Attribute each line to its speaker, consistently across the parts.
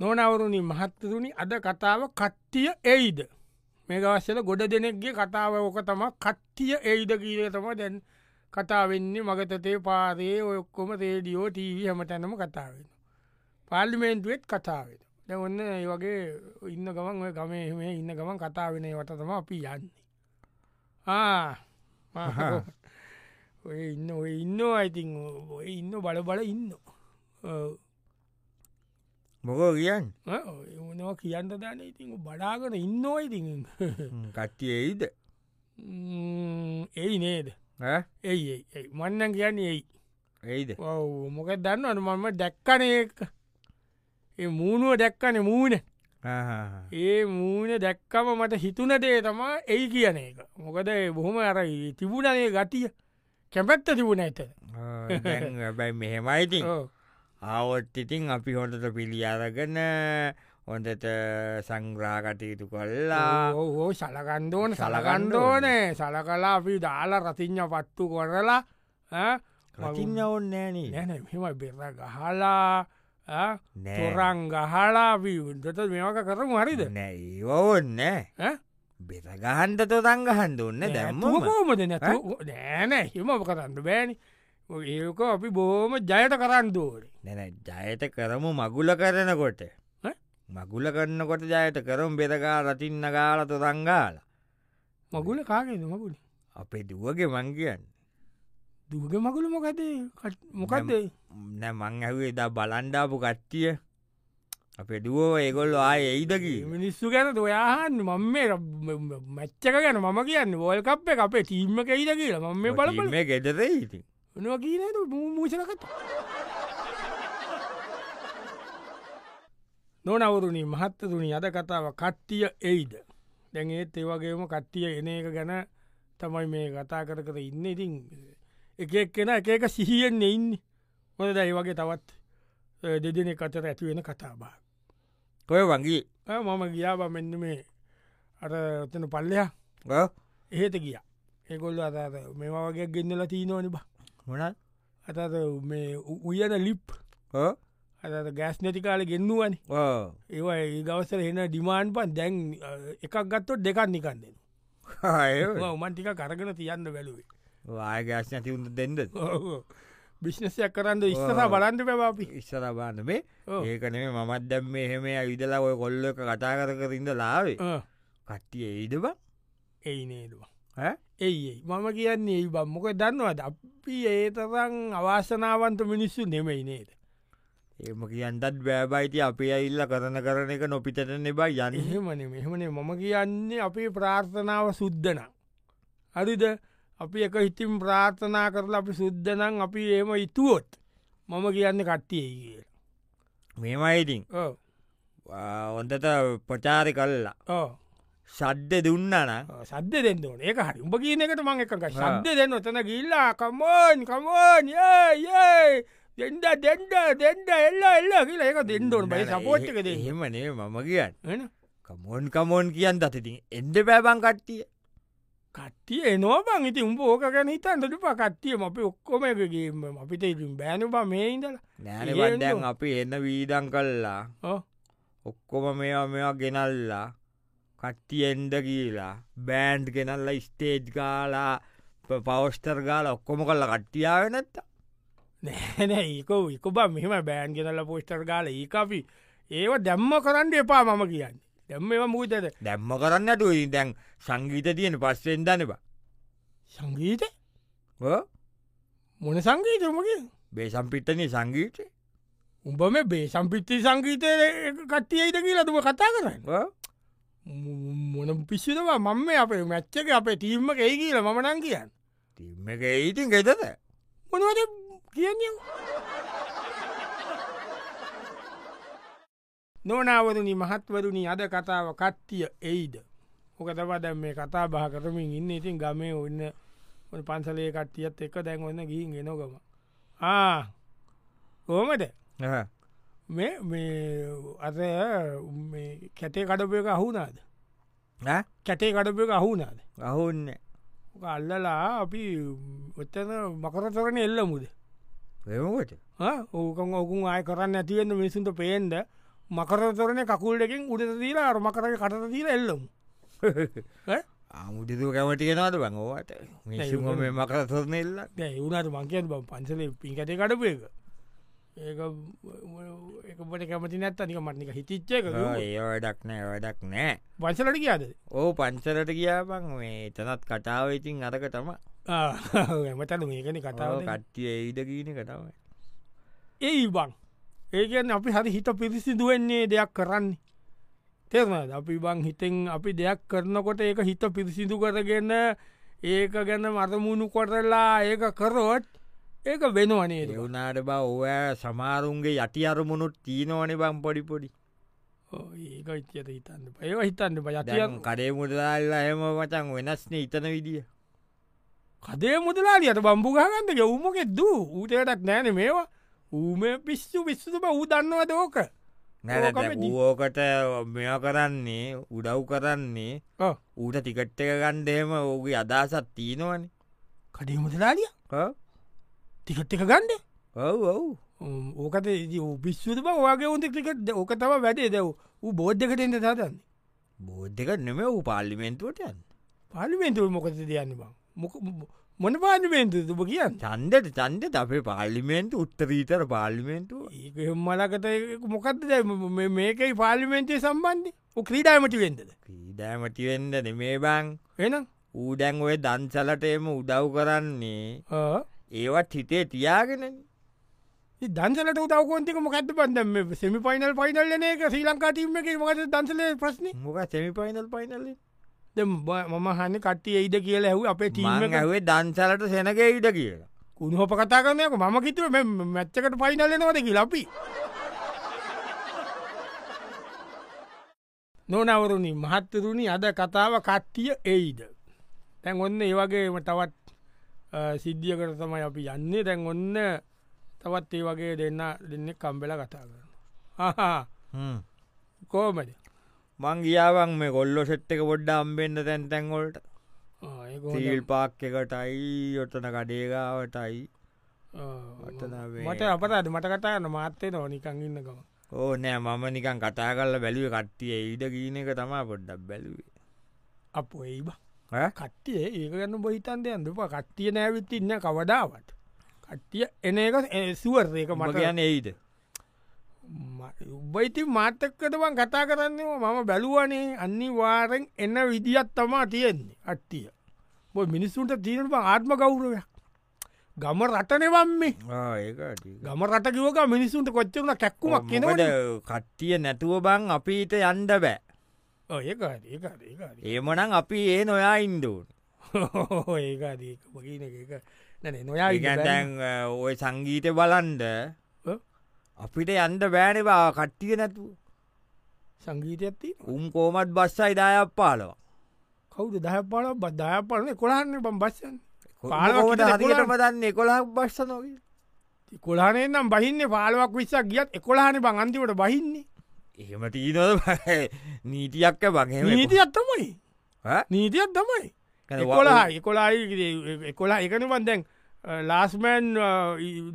Speaker 1: නොනවරුණි මහත්තතුනි අද කතාව කට්ටිය එයිද මේ අවස්සල ගොඩ දෙනෙක්ගේ කතාව ඕක තම කට්ටිය එයිද කියල තම දැන් කතාවෙන්නේ මගතතේ පාරයේ ඔයක්කොම රේඩියෝ ටීවී හම තැනම කතාවෙන පාල්ලිමේන්තුවෙත් කතාවෙන දැ ඔන්න ඒ වගේ ඉන්න ගමන් ඔය ගමේ මේ ඉන්න ගමන් කතාවෙන වටතම අපි යන්නේ ආ ඔය ඉන්න ඔය ඉන්න අයිතින් ඔය ඉන්න බල බල ඉන්න
Speaker 2: මොකෝ කියන්
Speaker 1: ඕනවා කියන්න දාන ඉතින් බඩාගෙන ඉන්න ඉතින්
Speaker 2: කට්ටියයිද
Speaker 1: එයි නේද එයි එයි, එයි මන්නන් කියන්න එයි
Speaker 2: එයිද
Speaker 1: ඔව් මොක දන්නවන මම දැක්කනක ඒ මූුණුව දැක්කන මූන ඒ මූන දැක්කම මට හිතුන දේ තමා එයි කියන එක මොකද ඒ බොහොම අර ඒ තිබුණනේ ගටිය කැපැත්ත තිබුණ ඇත
Speaker 2: බැයි මෙහෙමයිඉතින් ආවොත් ඉතින් අපි හොඳට පිළියාරගන හොඳට සංග්‍රාකටයුතු කල්ලා
Speaker 1: ඕ සලකන්දෝන සලකණ්ඩෝනෑ සලකලා අපි දාලා රතිං්ඥ පට්ටු කොරලා ඈ?
Speaker 2: රතින්න ඔන්න ෑනේ
Speaker 1: නැන මෙම බෙර ගහලා ah,
Speaker 2: Eh.
Speaker 1: තොරං ගහලාවී උන්ටට මේක කරම හරිද
Speaker 2: Mm. නෑ ඕන්න බෙරගහන්ට තොතංගහන්ඩ ඔන්න දැම්ම
Speaker 1: මොකෝමද නෑනෑ හිම කරන්න බෑනි ඔය ඒක අපි බෝම ජයට කරන්න දෝරේ
Speaker 2: නැන ජයට කරමු මගුල කරනකොට
Speaker 1: ඈ?
Speaker 2: මගුල කරන්නකොට ජයට කරම් බෙරගා රතින්න ගාල තොතංගාල
Speaker 1: මගුල කාගේද මගුල
Speaker 2: අපේ දුවගේ මං කියන්න
Speaker 1: දුග මගුල මොකදේ මොකක්දේ
Speaker 2: නෑ මං ඇවේ දා බලන්ඩාපු කට්ටිය අපේ දුවෝ ඒගොල්ල ආය එයිදකී
Speaker 1: මිනිස්සු ගැන ඔයාහන් මම මැච්චක ගැන මම කියන්න වෝල් කප් එක අපේ ටීම්ම කෙයිද කියලා මම මේ බලපල
Speaker 2: මේ ගෙදරේ ඉති
Speaker 1: නවා කියන මූෂණකත නොනවරුණි මහත්තතුනි අද කතාව කට්ටිය එයිද දැන් ඒත් ඒවගේම කට්ටිය එන එක ගැන තමයි මේ කතා කර කර ඉන්න ඉතින් එකක් කෙන එකක සිහියෙන් ඉන්න හොද දැයි වගේ තවත් අ, දෙදෙනෙ කතර ඇතිවෙන කතාබා
Speaker 2: කොය වගේ
Speaker 1: මම ගියාව මෙන්න මේ අර ඔතන පල්ලයා එහෙත ගිය ඒකොල්ල අත මේ වගේ ගෙන්න්නලා තිීනවනි බා
Speaker 2: මොනත්
Speaker 1: අතත මේ උ- උයන ලිප් අත ගෑස් නැති කාල ගෙන්නුවන ඒවා ඒ දවසර එන ඩිමාන් පන් දැන් අ, එකක් ගත්තොත් දෙකක් නිකන් දෙෙන උමන්ටික කරගෙන තියන්න බැලුවේ
Speaker 2: වාගශන තිවුණ දෙෙන්ද
Speaker 1: බිශ්නසයක් කරන්න ඉස්සහ
Speaker 2: ඔව්.
Speaker 1: බලන්ට පැවාපි
Speaker 2: ඉස්සර බාන මේ ඒකනේ මමත් දැම් මෙහෙම ඇවිදලා ඔය කොල්ල එක කතා කර කරින්ද ලාවේ කට්ටිය ඒද බං
Speaker 1: එයි නේදවා
Speaker 2: ඈ?
Speaker 1: ඒයි මම කියන්නේ ඒ බම්මොක දන්නවාද අපි ඒතරං අවාසනාවන්ත මිනිස්සු නෙමයි නේද
Speaker 2: එම කියන්ටත් බෑබයිති අපේ ඇඉල්ල කරන කරන එක නොපිටට නෙබා යනි
Speaker 1: එහෙමන මෙහමනේ මම කියන්නේ අපේ ප්‍රාර්ථනාව සුද්ධන හරිද අපි එක ඉතිම් ප්‍රාර්ථනා කරලා අපි සුද්ධනං අපි ඒම ඉතුවොත් මම කියන්න කට්ටියයි කිය
Speaker 2: මෙමයිඉතින්
Speaker 1: ඕ
Speaker 2: හොඳට ප්‍රචාරි කල්ලා
Speaker 1: ඕ
Speaker 2: සද්්‍ය දුන්නන
Speaker 1: සද්ද දෙන්න ඕන ඒක හරි උඹ කියන එකට මං එකක සද්ද දෙන්න ඔතන ගිල්ලා කමෝන් කමෝන් යඒ දෙන්ඩ දෙන්ඩ දෙන්ඩ එල්ල එල්ල කියලා ඒක දෙන්නඩෝන් බයි සපෝට්ක දෙ
Speaker 2: එහෙමනේ මම කියන්න කමෝන් කමෝන් කියන්න දතිතින් එන්ඩ පෑබං කට්ටිය
Speaker 1: කට්ටිය එනෝබං ඉති උඹ ඕක ගැන හිතන්ට ප කට්ටියම අපි ඔක්කොම එකගේම අපිට ඉතින් බෑනු බා මේ ඉඳල
Speaker 2: නෑනවන්
Speaker 1: එහෙම.
Speaker 2: දැන් අපි එන්න වීදං කල්ලා
Speaker 1: ඔව්.
Speaker 2: ඔක්කොම මේවා මෙවා ගෙනල්ලා කට්ටියෙන්ඩ කියලා බෑන්ඩ් ගෙනල්ලා ස්ටේජ් ගාලා පවස්ටර් ගාල ඔක්කොම කල්ල කට්ටියාව නැත්ත
Speaker 1: නෑන ඒක එක බ මෙම බෑන් ගෙනල පෝස්ටර් ගාල ඒ අපි ඒව දැම්ම කරන්න එපා මම කියන්න දැම්ම ඒවා මූතද
Speaker 2: දැම්ම කරන්නට දැන් සංගීත තියෙන පස්සෙන් දනවා
Speaker 1: සංගීත මොන සංගීතමගේ
Speaker 2: බේසම්පිට්ටනය සංගීතය
Speaker 1: උඹ මේ බේ සම්පිත්ති සංගීතය කට්ටියයිට කියලතුම කතා කරන්න ම- මොන පිස්සිනවා මම මේ අපේ මැච්චක අපේ ටීම්ම ඒ කියල මම නං කියන්න
Speaker 2: තිම්ම එක ඉතින් ගෙතද
Speaker 1: මොනවද කියන්නේ නොනවරනි මහත්වරුණි අද කතාව කට්ටිය එයිද ඕක තබා දැම් මේ කතා බහ කරමින් ඉන්න ඉතින් ගමේ ඔන්න ඔය පන්සලේ කට්ටියත් එක්ක දැන් ඔන්න ගිහින් ගෙනොකම ආ කොහමද මේ මේ අත මේ කැටේ කඩපය එක අහුනාද කැටේ කඩපය එක අහුනාද
Speaker 2: අහුන්න
Speaker 1: ඕක අල්ලලා අපි ඔත්තන මකරතරණ එල්ල මුද
Speaker 2: වෙමකොට
Speaker 1: ඕකන් ඔකුන් ආය කරන්න ඇතිවෙන්න මිනිසුන්ට පේෙන්ද මකර තොරන කකුල්ඩකින් උඩට දීලා අර මකරක කට දීලා එල්ලමු ඈ?
Speaker 2: ආමුටිතු කැමටිගෙනට බඟෝවට මිසුම මේ මකර තොරනෙල්ල
Speaker 1: දැන් ඒවුණට මංකයන් බ පන්සලේ පිකටේ කඩපු එක ඒක ඒකට කැමති නැත් අනික මටනික හිතිච්ච එක
Speaker 2: ඒ වැඩක් නෑ වැඩක් නෑ
Speaker 1: පන්සලට කියාද
Speaker 2: ඕ පංචලට කියාපන් මේ තනත් කටාව ඉතින් අරක තම
Speaker 1: මතන මේකන කතාව
Speaker 2: කට්ටිය ඒද කියන කටාව
Speaker 1: ඒ බං ඒකන් අපි හරි හිත පිරිසිදුවන්නේ දෙයක් කරන්නේ තෙරනද අපි බං හිතෙන් අපි දෙයක් කරනකොට ඒක හිත පිරිසිදු කරගන්න ඒක ගැන මරමුණු කොටලා ඒක කරොත් ඒක වෙනවනේද
Speaker 2: දෙවුනාට බ ඔය සමාරුන්ගේ යටි අරමුණුත් තීනවන බම් පොඩිපොඩි
Speaker 1: ඒක ච්චත හිතන්න ඒව හිතන්න පයතිය
Speaker 2: දැන් කඩේ මුදලාල්ලා හෙම මචන් වෙනස්න ඉතන විදිිය
Speaker 1: කදේ මුදලාලියට බම්පු ගහන්ද යවුමකෙත් දූ ඌටයටත් නෑන මේවා ඌම පිස්සු පිස්සුම ඌ දන්නවද ඕක ඕකම දි-
Speaker 2: ඕෝකට මෙය කරන්නේ උඩව් කරන්නේ
Speaker 1: ඔව්.
Speaker 2: ඌට ටිකට් එක ගණ්ඩේම ඕගේ අදහසත් තිීනවන
Speaker 1: කඩේ මුදලාලිය ටිකට් එක ගණ්ඩ
Speaker 2: ඔව් ඔව්
Speaker 1: ඕකත පිස්සුම වගේ උන්ට ක්‍රිකට ඕක තම වැඩේ දැව් ූ බෝද්ධකටෙන්ට සාතන්න
Speaker 2: බෝද්ධක නෙම වූ පාල්ලිමෙන්තුවට යන්න
Speaker 1: පාලිමෙන්තුව මොකද දයන්න බං මොක මොන පාලිමෙන්තුතුම කියන්න
Speaker 2: චන්දට චන්දට අපේ පාලිමෙන්තු උත්තරීතර පාලිමෙන්තු
Speaker 1: ඒ මලකට මොකක්ද දැ මේකයි පාලිමෙන්තය සම්බන්ධය ක්‍රීඩාමටි වෙන්දද
Speaker 2: ක්‍රීඩෑමටිවෙන්ද නෙමේ බං
Speaker 1: එනම්
Speaker 2: ඌඩැන් ඔය දංචලටේම උදව් කරන්නේ ඒවත් හිතේ තියාගෙන
Speaker 1: දන්සලට උදවකොන්තික මොකක්ද පන්දම සෙමි පයිනල් පයිනල්ලන එක ශ්‍රී ලංකාටීම එක මකද දන්සල ප්‍රශ්න
Speaker 2: මොක සෙමිපයිනල් පයිනල
Speaker 1: මම හන්න කට්ටිය ඉද කියලා ඇහු අපේ
Speaker 2: මං
Speaker 1: ටීම
Speaker 2: ඇවේ දංචලට සෙනක ඉට කියලා
Speaker 1: කුණහොප කතා කරනයක මම කිතුව මැච්චකට පයිනල්ලනවද ලපි නොනවරුණි මහත්තරුණි අද කතාව කට්ටිය එයිද තැන් ඔන්න ඒවගේම තවත් සිද්ධිය කර තමයි අපි යන්නේ තැන් ඔන්න තවත් ඒ වගේ දෙන්න දෙන්න කම්බෙල කතා කරන හා
Speaker 2: හ්ම්.
Speaker 1: කෝමද
Speaker 2: මං ගියාවන් මේ කොල්ලො සෙට් එක පොඩ්ඩ අම්බෙන්න්න තැන්තැන්ගොල්ට සීල් පාක් එකටයි ඔටන කඩේගාවටයි වටනාවේ.
Speaker 1: මට අපට අද මට කතාන්න මාත්තේ නොනිකං ඉන්නකම
Speaker 2: ඕ නෑ මම නිකන් කතා කරල බැලුව කට්ටිය ඒද ගීන එක තමා පොඩ්ඩක් බැලුවේ
Speaker 1: අප ඒබ කට්ටිය ඒක ගන්න බහිතන් දෙයන් දුප කට්ටිය නෑවිත් ඉන්න කවදාවට කට්ටිය එන එක සුවර්යක
Speaker 2: මට
Speaker 1: මට
Speaker 2: කියන්න ඒද
Speaker 1: උබයිති මාතකටවන් කතා කරන්න මම බැලුවනේ අනිවාරෙන් එන්න විදිහත් තමා තියෙන්නේ අට්ටිය බො මිනිස්සුන්ට තියෙනට ආත්ම ගෞරවයක් ගම රටනවම්න්නේ
Speaker 2: ඒකට
Speaker 1: ගම රටකිවක මිනිසුන්ට කොච්චරන කැක්කුමක්
Speaker 2: මොකද
Speaker 1: කෙනවට
Speaker 2: කට්ටිය නැතුව බං අපිට යන්ඩ බෑ
Speaker 1: ඒ ඒ ඒ
Speaker 2: ඒමනං අපි ඒ නොයා ඉන්දුන්
Speaker 1: ඒකාදක මගන එක නැන නොයා
Speaker 2: ඒගැටැන් ඔය සංගීත බලන්ඩ අපිට යන්ඩ බෑනවා කට්ටිය නැතු
Speaker 1: සංගීතයත්ති
Speaker 2: උම් කෝමත් බස්සයි දායක් පාලව
Speaker 1: කවුද දහ පාල බද්ධය පලන කොළහන්න බම් බස්සන් පාලව
Speaker 2: පාලට
Speaker 1: කියලා
Speaker 2: හරියට
Speaker 1: කොළහන්.
Speaker 2: පදන්න කොළහක් බස්ස නොක
Speaker 1: කොලානෙන්නම් බහින්න පාලවක් විස්සක් ගියත් එකොලාන බංන්තිවට බහින්නේ
Speaker 2: එහෙම ටීනොද නීතියක්ක බගේ
Speaker 1: නීතියත් තමයි නීතියත් තමයි එකොලා එකොලායි එකොලා එකනවන් දැන් ලාස්මෑන්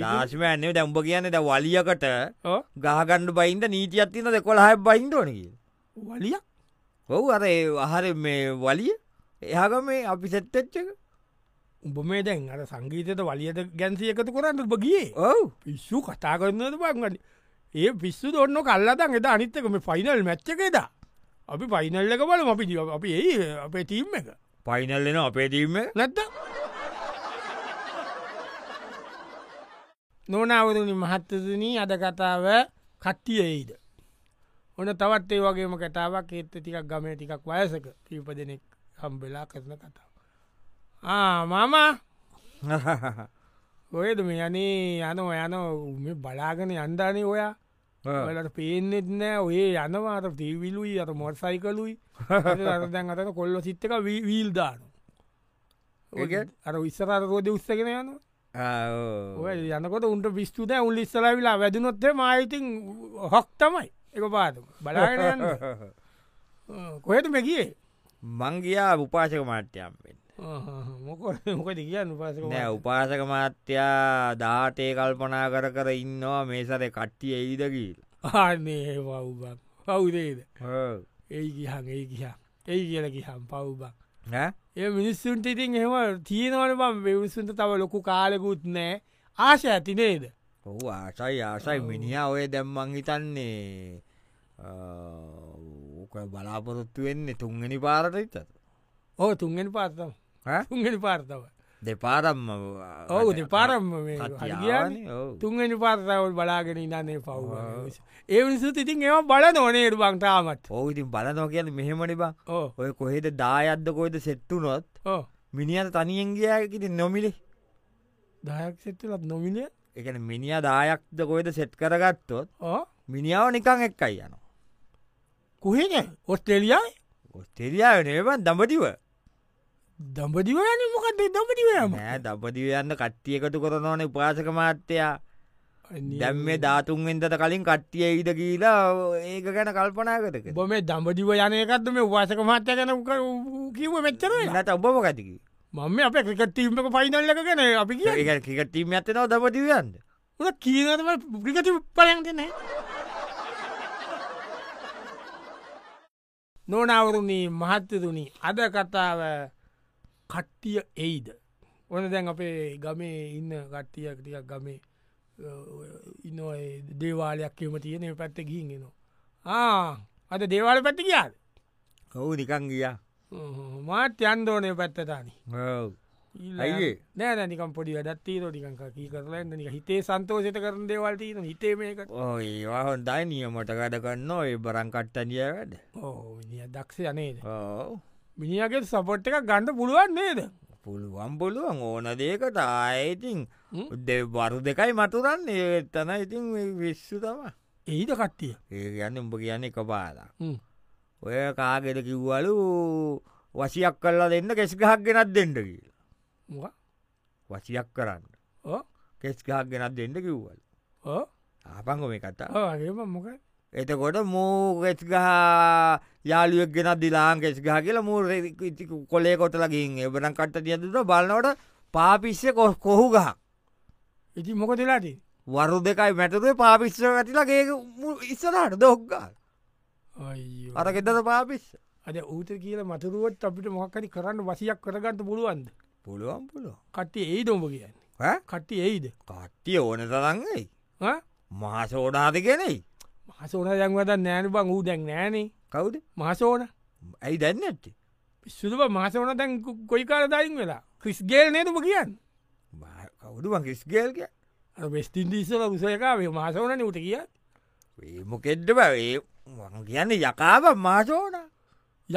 Speaker 2: ලාශමයන්නේ දැම්ඹ කියන්නට වලියකට ගහගණ්ඩ බයින්ද නීතියත් තින දෙකොළහයි බයින්ටෝනක
Speaker 1: වලිය
Speaker 2: ඔවු අර ඒ අහර මේ වලිය එහග මේ අපි සැත්තච්චක
Speaker 1: උඹ මේ දැන් අර සංගීතයට වලියට ගැන්සිය එකතු කරන්න උඹ ගියේ
Speaker 2: ඔව්
Speaker 1: පිස්සු කතා කරන්නද බංගන්න ඒ පිස්සු දොන්න කල්ලතන් එත අනිත්තක මේ ෆයිනල් මැච්චකේද අපි පයිනල්ලක බල අපි ජීව- අපි ඒ අපේ තීම් එක
Speaker 2: පයිනල්ලෙන අපේ දීම
Speaker 1: නැත්ත නොනවරුණි මහත්තතුනී අද කතාව කට්ටියයිද ඔන තවත් ඒ වගේම කතාවක් ඒත්ත ටිකක් ගමේ ටිකක් වයසක ්‍රීප දෙනෙක් හම්බෙලා කරන කතාව මම ඔයද මේ යනේ යන යන මේ බලාගෙන යන්දානේ ඔයා ඔලට පේනෙත් නෑ ඔය යනවාට තීවිලුයි අත මොට සයිකලුයි දැන් අතට කොල්ල සිත්තක වීල් දානු
Speaker 2: ඒක?
Speaker 1: අර විස්සරට රෝධ උත්සගෙන යන ඔය යනකොට උන්ට පිස්තුත උල් ඉස්සල වෙලා වැදනොත්තේ මයිතින් හොක් තමයි එක පාත බලාගෙන කොයට මැකියේ
Speaker 2: මංගයා උපාසක මාට්‍යයම් වෙන්න
Speaker 1: මොක මොකද කියන්න පස
Speaker 2: නෑ උපාසක මාත්‍යයා දාටේ කල්පනා කර කර ඉන්නවා මේසර කට්ටිය ඒදකීල
Speaker 1: ආනේ වව්බක් පවුදේද ඒ ගිහන් ඒ ගිහා ඒ කියල ගිහම් පව්බක් ඒ මිනිස්සුන්ට ඉතින් එහම තියෙනවන බම් මිනිස්සුන්ට තව ලොකු කාලෙකුත් නෑ ආශ ඇතිනේද
Speaker 2: ඔහු ආසයි ආසයි මිනිියා ඔය දැම්මං හිතන්නේ ඕක බලාපොරොත්තු වෙන්නේ තුන්ගනි පාරට හිතත්
Speaker 1: ඕ තුන්ගෙන පාර්තම
Speaker 2: ඈ?
Speaker 1: තුන්ගෙන පාර්තව
Speaker 2: දෙපාරම්ම
Speaker 1: ඔවු පාරම්ම ගිය
Speaker 2: ඔව්
Speaker 1: තුන්ගනි පාර්තාවල් බලාගෙන ඉන්නන්නේ පව් ඒ නිසුත් ඉතින් ඒවා බල නොනේරු බංතාමත්
Speaker 2: ඉතින් බලනෝ කියන්න මෙහෙමනි බා
Speaker 1: ඕ
Speaker 2: ඔය කොහෙද දායද්ද කොයිද සෙට්ටු නොත්
Speaker 1: ඕ
Speaker 2: මිනිියට තනියෙන්ගේයකිති නොමිලේ
Speaker 1: දහයක් සෙටලත් නොමිලිය
Speaker 2: එකන මිනිිය දායක්ද කොයිද සෙට් කරගත්තොත්
Speaker 1: ඕ
Speaker 2: මිනිියාව නිකං එක්කයි යන
Speaker 1: කුහෙන ඔස්ටේලියයි
Speaker 2: ඔස්ටෙරියාව නේවන් දඹටිව
Speaker 1: දම්ඹදිවයන මොකක්ද දම්ඹටිවයම
Speaker 2: නෑ දපදිව යන්න කට්ටිය එකතු කරනවන උපාසක මාත්‍යයා දැම් මේ ධාතුන්ෙන්දට කලින් කට්ටිය ඉද කියලා ඒක ගැන කල්පනාකතක
Speaker 1: බොම දම්ඹදිව යනයකත්ද මේ වාසක මාත්‍ය ගැන උක- ඌ කිව්ව මෙච්චරයි
Speaker 2: නට ඔබම කතිකි
Speaker 1: මම අප ක්‍රිකටීම්ක පයිනල්ලක ගැන අපි කිය
Speaker 2: ඒ කිකටීම ඇතනව දපදිවයන්ද
Speaker 1: උ කියීනතම ප්‍රිකටි පලයන්ගෙන නොනවරුණී මහත්තතුනි අද කතාව කට්ටිය එයිද ඕන දැන් අපේ ගමේ ඉන්න කට්ටියක් ටිකක් ගමේ ඉන්න දේවාලයක් එම තියනෙ පැත්ත ගීගෙනවා ආ අද දේවාල පැත්ති කියාද
Speaker 2: ඔවු නිකං ගියා
Speaker 1: මාත් යන්දෝනය පැත්තතානි
Speaker 2: ඔව්.
Speaker 1: නෑ
Speaker 2: ඇයි ඒ?
Speaker 1: නෑ නිකම් පොඩි වැඩත්තේ රෝටිකංක කී කරලන්න නික හිතේ සන්තෝෂත කරන දේවල්ට න හිතේ මේකට
Speaker 2: ඔය ඒවා හොන්දයි නියමට වැඩ කන්න ඒ බරංකට්ටනිය වැඩ
Speaker 1: ඕ මිනිිය දක්ෂ යනේද
Speaker 2: ඕ
Speaker 1: මිනිියගේ සපොට් එක ගණ්ඩ පුළුවන් නේද
Speaker 2: පුළුවන් පුළුවන් ඕන දේකට ආයඉතින්
Speaker 1: හ්ම්.
Speaker 2: වරු දෙකයි මතුරන්න ඒත්තන ඉතින් විශ්සු තම
Speaker 1: එහිද කට්ටිය
Speaker 2: ඒ කියන්න උඹ කියන්න එක පාලා
Speaker 1: හ්ම්.
Speaker 2: ඔය කාගෙට කිව්වලු වසියක් කල්ලා දෙන්න කෙස්ගහක් ගෙනත් දෙන්න කියලා
Speaker 1: මොකක්?
Speaker 2: වසියක් කරන්න
Speaker 1: ඕ
Speaker 2: කෙස්ගහක් ගෙනත් දෙන්න කිව්වල
Speaker 1: ඕ
Speaker 2: ආපංගො මේ කතා
Speaker 1: ඕගේම මොක
Speaker 2: එතකොට මූ කෙස්ගහ යාලුවක් ගෙන දිලාන් කෙස්ගහ කියලා මූ කොලේ කොටලගින් එබරන් කට්ට තියතුට බලනවට පාපිස්්‍ය කොස් කොහු ගහ
Speaker 1: ඉති මොක දෙලාදී
Speaker 2: වරු දෙකයි මැටතුේ පාපිස්්‍ර ඇතිලගේ ඉස්සරට දොක්ගා අර ගෙතද පාපිස්
Speaker 1: අද ඌත කියල මතුරුවත් අපිට මොහක්කරි කරන්න වසියක් කරගන්න පුළුවන්ද
Speaker 2: පුළුවන් පුළුව
Speaker 1: කට්ටේ ඒ දොඹ කියන්න කට්ටි එයිද
Speaker 2: කට්ටිය ඕන තරන්ගයි මහසෝඩාද කෙනෙයි
Speaker 1: මහසෝන දැන්වද නෑන බං ූ දැන් නෑනේ
Speaker 2: කවුද
Speaker 1: මහසෝන
Speaker 2: ඇයි දැන්න ඇත්ති
Speaker 1: පිස්සුදුව මහසවන තැන් කොයි කාලදායින් වෙලා ක්‍රිස් ගේල් නේතුම කියන්න
Speaker 2: කවුඩුවන් කිස්ගේල්ක
Speaker 1: වෙස්ටින්ඩිස්සල උසයකාවේ මහසවන නට කිය
Speaker 2: ඒමොකෙද්ද බවේ මං කියන්නේ යකාව මාසෝනා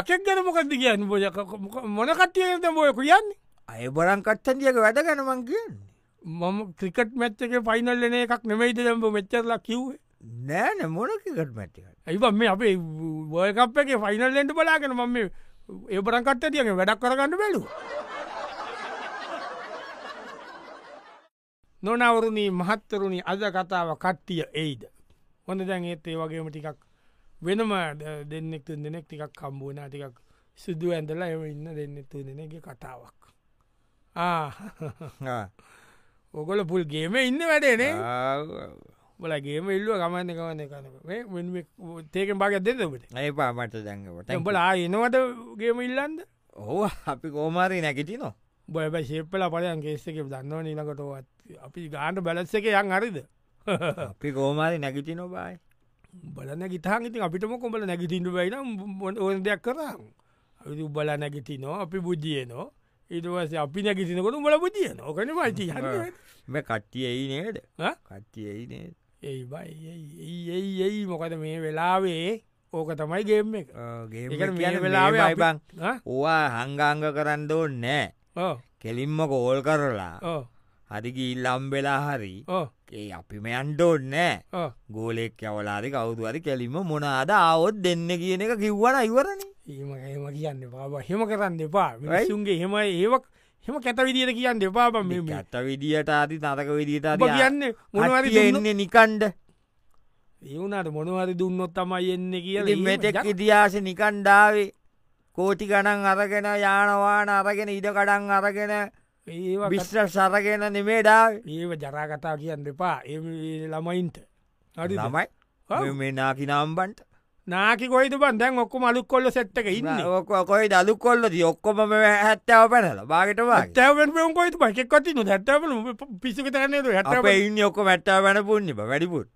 Speaker 1: යකෙක් ගැන මොකක්ද කියන්න බොජ මොන කට්ටියද බොය කියන්නේ
Speaker 2: අයබරන් කට්ටන්ටියක වැඩ ගැනමං කියන්නේ
Speaker 1: මම ක්‍රිකට් මැච්චක ෆයිනල් න එකක් නෙමයිද දැම්බ මෙච්චරලා කිව්වේ
Speaker 2: නෑන මොනකිකට මැටිකට
Speaker 1: ඇයිබන් මේ අපේ බෝයකප් එක ෆයිනල්ලෙන්ට බලාගෙන මම ඒබරන් කට්ට තියගේ වැඩක් කරගන්න බැලු නොනවරුණී මහත්තරුණි අද කතාව කට්ටිය එයිද හොඳ දැන් ඒත් ඒ වගේම ටිකක් වෙනම ද- දෙන්නෙක් තුන් දෙනෙක් ටිකක් කම්බුවන ටිකක් සිදුව ඇඳලා එම ඉන්න දෙන්න තු දෙනගේ කතාවක් ආ ඔගොල පුල් ගේම ඉන්න වැඩේනේ බලගේම ඉල්ලුව ගමන්න කවන්න කන තේකෙන් බාග දෙන්නට
Speaker 2: ඒ පාමට දැඟවට
Speaker 1: තැම්පල එනවට ගේම ඉල්ලන්ද
Speaker 2: ඕ අපි කෝමාරී නැකිටි නො
Speaker 1: බොයබ ශේපල පලයන් ගේස්සක දන්නව නිලකටවත් අපි ගාන්ට බැලස් එක යන් හරිද
Speaker 2: අපි කෝමාරි නැගිටි නොබයි
Speaker 1: බලන ගිතාන් ඉතින් අපිටම කොඹල නැගිටින්ට බයින ඕන දෙයක් කරම් ඇතු බල නැගිටි නෝ අපි බුද්ධියනෝ ඉටවස අපි නැගිසිනකොට බල බුදිය ඕකන මචි
Speaker 2: මෙ කට්ටියයි නේද
Speaker 1: ඈ?
Speaker 2: කට්ටියයි නේද
Speaker 1: ඒ බයි ඒයි ඒයි මොකද මේ වෙලාවේ ඕක තමයි ගේම් එක ඒකට මේ
Speaker 2: ගේ
Speaker 1: වෙලාවේ
Speaker 2: වෙලාවයි
Speaker 1: අපි-
Speaker 2: බං
Speaker 1: ආ?
Speaker 2: ඕවා හංගාංග කරන්න ඕන්න නෑ
Speaker 1: ඕ
Speaker 2: කෙලින්ම කෝල් කරලා
Speaker 1: ඕ
Speaker 2: හරිගී ඉල්ලම්බෙලා හරි
Speaker 1: ඕ
Speaker 2: ඒ අපිම අන්ඩෝන් නෑ
Speaker 1: ඕ
Speaker 2: ගෝලෙක් යවලාරි කවුතු හරි කෙලින්ම මොනාද ආවොත් දෙන්න කියන එක කිව්වන ඉවරණ
Speaker 1: ඒම හෙම කියන්න බාබ හෙම කරන්න දෙපා මිනිසුන්ගේ හෙම ඒවක් හෙම කැත විදිට කියන්න දෙපාබ මෙම
Speaker 2: ඇත්ත විදිට ආති නතක විදිට
Speaker 1: කියන්න මොනවරි දෙන්න
Speaker 2: එන්නේ නිකන්්ඩ
Speaker 1: ඒවුණට මොනවරි දුන්නොත් තමයි එන්න කියල
Speaker 2: මෙතෙක් ඉතිහාස නිකණ්ඩාවේ කෝටි ගණන් අරගෙන යානවාන අරගෙන ඉඩ කඩන් අරගෙන
Speaker 1: ඒ
Speaker 2: විිශ්්‍ර සරගෙන නෙමේ ඩාව
Speaker 1: ඒව ජරා කතා කියන්න දෙපා ඒ ළමයින්ට හරි
Speaker 2: ළමයි
Speaker 1: ඔව්.
Speaker 2: මේ නාකි නම්බන්ට
Speaker 1: නාකි කොයිතු බන් දැන් ඔක්කො මලුක් කොල්ල සැට්ක ඉන්න
Speaker 2: කොයි දලු කොල්ලද ඔක්කොම හැත්තාව පැනල බාගටවා
Speaker 1: ඇතැවෙන් කොයිතු පචෙක්කොත් න හැත්තවල පිසික තරන්නේද හැටව
Speaker 2: ඉන්න ඔක්කො වැට්ටා පැන පුුණ්ි වැඩිපුට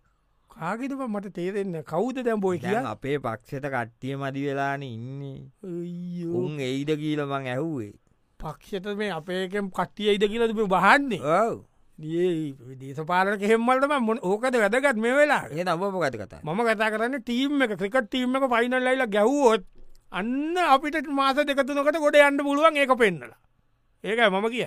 Speaker 1: කාගෙතම මට තේරෙන්න කවුද දැම් බොයි කිය
Speaker 2: අපේ පක්ෂට කට්ටිය මදි වෙලාන ඉන්නේ උන් එයිද කියීලමං ඇහුවේ
Speaker 1: පක්ෂත මේ අපේකෙන් කට්ටියයිද කියලතු බහන්නේ
Speaker 2: ඔව්
Speaker 1: දිය දේශපාලන කෙහෙම්මල්ටම මොන ඕකද වැදගත් මේ වෙලා
Speaker 2: ඒ නබම ගත කතා
Speaker 1: මම කතා කරන්න ටීම් එක ක්‍රිකට් ටීම් එක ෆයිනල් ලයිල ගැව්වොත් අන්න අපිට මාස දෙකතුනකට ගොඩ යන්න පුළුවන් ඒක පෙන්නලා ඒක මම කිය